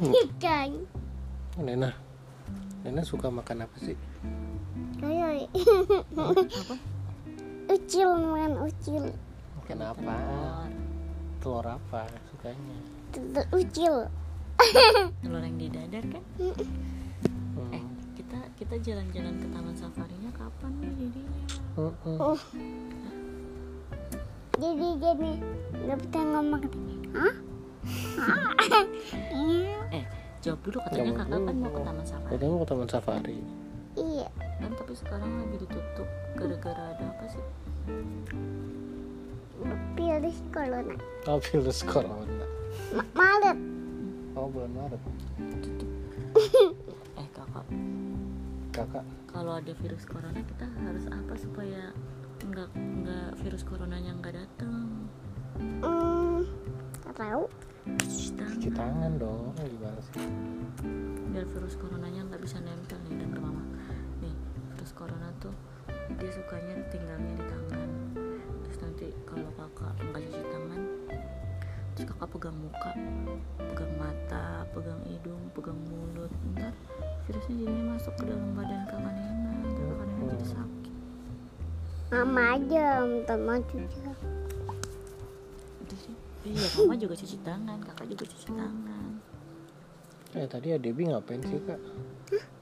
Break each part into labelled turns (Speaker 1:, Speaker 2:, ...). Speaker 1: Ikan.
Speaker 2: Oh, Nena Nena suka makan apa sih
Speaker 1: Ayo.
Speaker 3: apa
Speaker 1: Ucil makan ucil.
Speaker 2: makan apa
Speaker 3: Oh,
Speaker 2: telur apa sukanya
Speaker 1: Telur Ucil.
Speaker 3: telur yang di dadar kan eh
Speaker 2: Hmm.
Speaker 3: kita kita jalan-jalan ke taman safarinya kapan nih jadinya
Speaker 2: Mm-mm.
Speaker 1: Jadi jadi nggak bisa ngomong. Hah? Hah? Iya.
Speaker 3: eh jawab dulu katanya
Speaker 2: Jawab
Speaker 3: kakak kan
Speaker 2: dulu.
Speaker 3: mau ke taman safari
Speaker 2: Katanya mau ke taman safari
Speaker 1: Iya.
Speaker 3: kan tapi sekarang lagi ditutup gara-gara ada apa sih
Speaker 1: Virus corona.
Speaker 2: oh virus corona
Speaker 1: Ma- Maret.
Speaker 2: oh bulan Maret
Speaker 3: eh kakak
Speaker 2: kakak
Speaker 3: kalau ada virus corona kita harus apa supaya nggak nggak virus coronanya nggak datang
Speaker 1: Hmm. nggak Tahu?
Speaker 3: cuci
Speaker 2: cuci
Speaker 3: tangan
Speaker 2: tangan dong Oh, gimana sih
Speaker 3: biar virus coronanya nggak bisa nempel nih dan ke mama nih virus corona tuh dia sukanya tinggalnya di tangan terus nanti kalau kakak nggak cuci tangan terus kakak pegang muka pegang mata pegang hidung pegang mulut ntar virusnya jadinya masuk ke dalam badan kakak Nena ntar kakak Nena jadi sakit
Speaker 1: Mama aja teman cuci.
Speaker 3: itu sih iya mama juga cuci tangan kakak juga cuci tangan
Speaker 2: eh tadi Adebi ngapain sih kak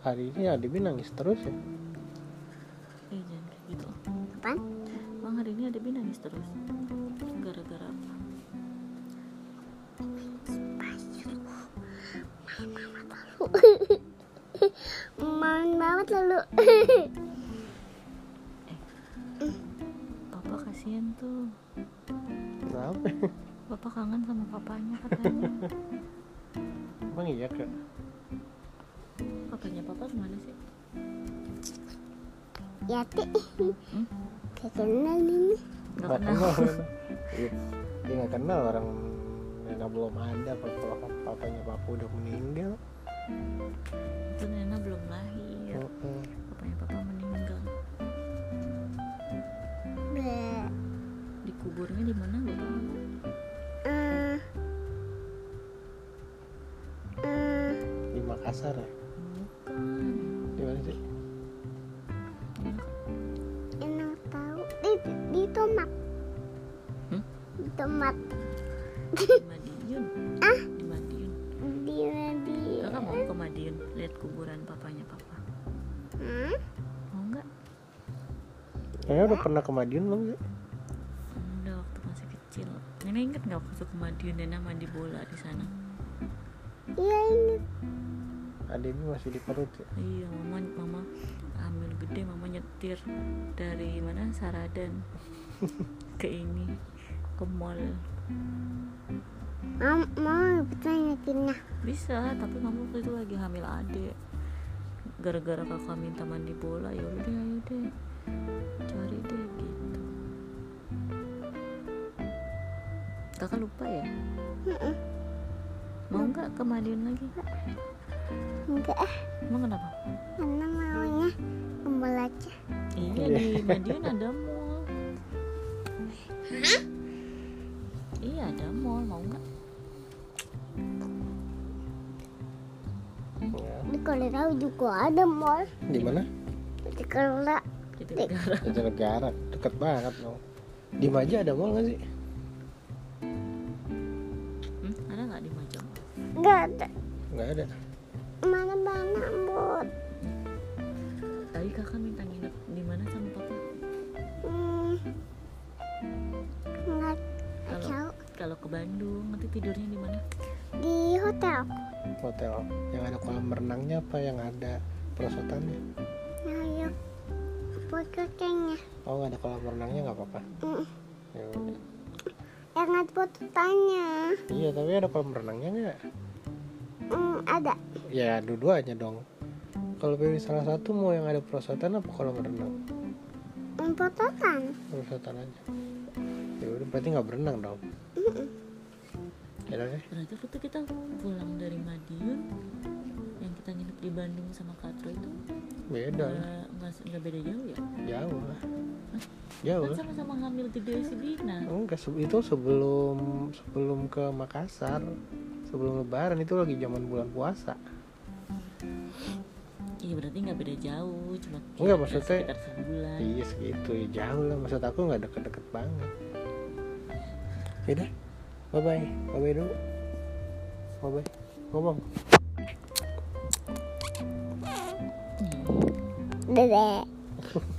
Speaker 2: hari ini Adebi nangis terus ya
Speaker 3: eh jangan kayak gitu
Speaker 1: Apaan?
Speaker 3: Bang hari ini ada Bi nangis terus Gara-gara apa?
Speaker 1: Main banget lalu.
Speaker 3: Papa kasihan tuh
Speaker 2: kenapa
Speaker 3: Papa kangen sama papanya katanya
Speaker 2: emang iya kak
Speaker 3: Papanya papa kemana sih?
Speaker 1: Yati. Kayak kenal ini.
Speaker 3: Gak kenal
Speaker 2: Iya. dia nggak kenal orang Nena belum ada Pak- kalau pap- papanya papa udah meninggal
Speaker 3: Itu Nena belum lahir
Speaker 2: Mm-mm.
Speaker 3: Papanya papa meninggal
Speaker 1: Be.
Speaker 3: Dikuburnya di mana gak tau
Speaker 1: Eh. Eh.
Speaker 2: di Makassar ya
Speaker 3: Bukan
Speaker 2: di mana sih
Speaker 1: enak tahu di di tomat
Speaker 3: Hmm?
Speaker 1: di tomat
Speaker 3: Di Madiun Di Madiun
Speaker 1: di di
Speaker 3: Kakak mau ke Madiun Lihat kuburan papanya papa
Speaker 1: hmm?
Speaker 3: Mau nggak?
Speaker 2: Nena udah pernah ke Madiun belum sih
Speaker 3: Udah waktu masih kecil Nena inget gak waktu ke Madiun Nena mandi bola di sana?
Speaker 1: iya ini
Speaker 2: Adebi masih di perut ya
Speaker 3: Iya, mama mama hamil gede mama nyetir dari mana Saradan ke ini ke mall.
Speaker 1: mau mau ya? bisa nyetirnya
Speaker 3: Bisa, tapi mama waktu itu lagi hamil adik. Gara-gara kakak minta mandi bola, ya udah deh, ayo deh. Cari deh gitu. Kakak lupa ya? Mau nggak ke Madiun lagi?
Speaker 1: enggak ah
Speaker 3: Emang kenapa?
Speaker 1: karena maunya kembali aja
Speaker 3: Iya
Speaker 2: Iya.
Speaker 3: di Madiun ada mall. Iya ada mall mau nggak?
Speaker 1: di Korea juga ada mall
Speaker 2: Iya. di mana
Speaker 1: di Korea
Speaker 3: Di negara
Speaker 2: Jatinegara deket banget dong di Maja ada mall nggak sih
Speaker 3: hmm, ada nggak di Majang?
Speaker 1: enggak ada
Speaker 2: nggak ada
Speaker 1: mana mana buat
Speaker 3: Tadi kakak minta nginep di mana sama papa?
Speaker 1: hmm. enggak
Speaker 3: Kalau
Speaker 1: tahu
Speaker 3: kalau ke Bandung nanti tidurnya di mana?
Speaker 1: di hotel
Speaker 2: hotel yang ada kolam renangnya apa yang ada perosotannya
Speaker 1: nah yuk buat kayaknya
Speaker 2: oh nggak ada kolam renangnya nggak apa-apa ya udah
Speaker 1: yang ada fotonya
Speaker 2: iya tapi ada kolam renangnya nggak
Speaker 1: hmm, ada
Speaker 2: ya dua-duanya dong kalau pilih salah satu mau yang ada perosotan apa kolam renang
Speaker 1: Hmm, fototan
Speaker 2: perosotan aja ya udah berarti nggak berenang dong ya udah deh.
Speaker 3: Ternyata waktu kita pulang dari Madiun yang kita nginep di Bandung sama Katro itu
Speaker 2: beda
Speaker 3: nggak nggak nggak beda jauh ya?
Speaker 2: jauh lah jauh
Speaker 3: kan
Speaker 2: lah.
Speaker 3: sama-sama hamil gede si Dina
Speaker 2: enggak se- itu sebelum sebelum ke Makassar sebelum Lebaran itu lagi zaman bulan puasa
Speaker 3: iya berarti nggak beda jauh cuma
Speaker 2: Enggak,
Speaker 3: kira-kira
Speaker 2: maksudnya-
Speaker 3: sekitar sebulan
Speaker 2: iya segitu ya jauh lah maksud aku nggak deket-deket banget Ya yaudah bye bye bye bye dulu bye bye ngomong
Speaker 1: Dedek.
Speaker 3: Oh,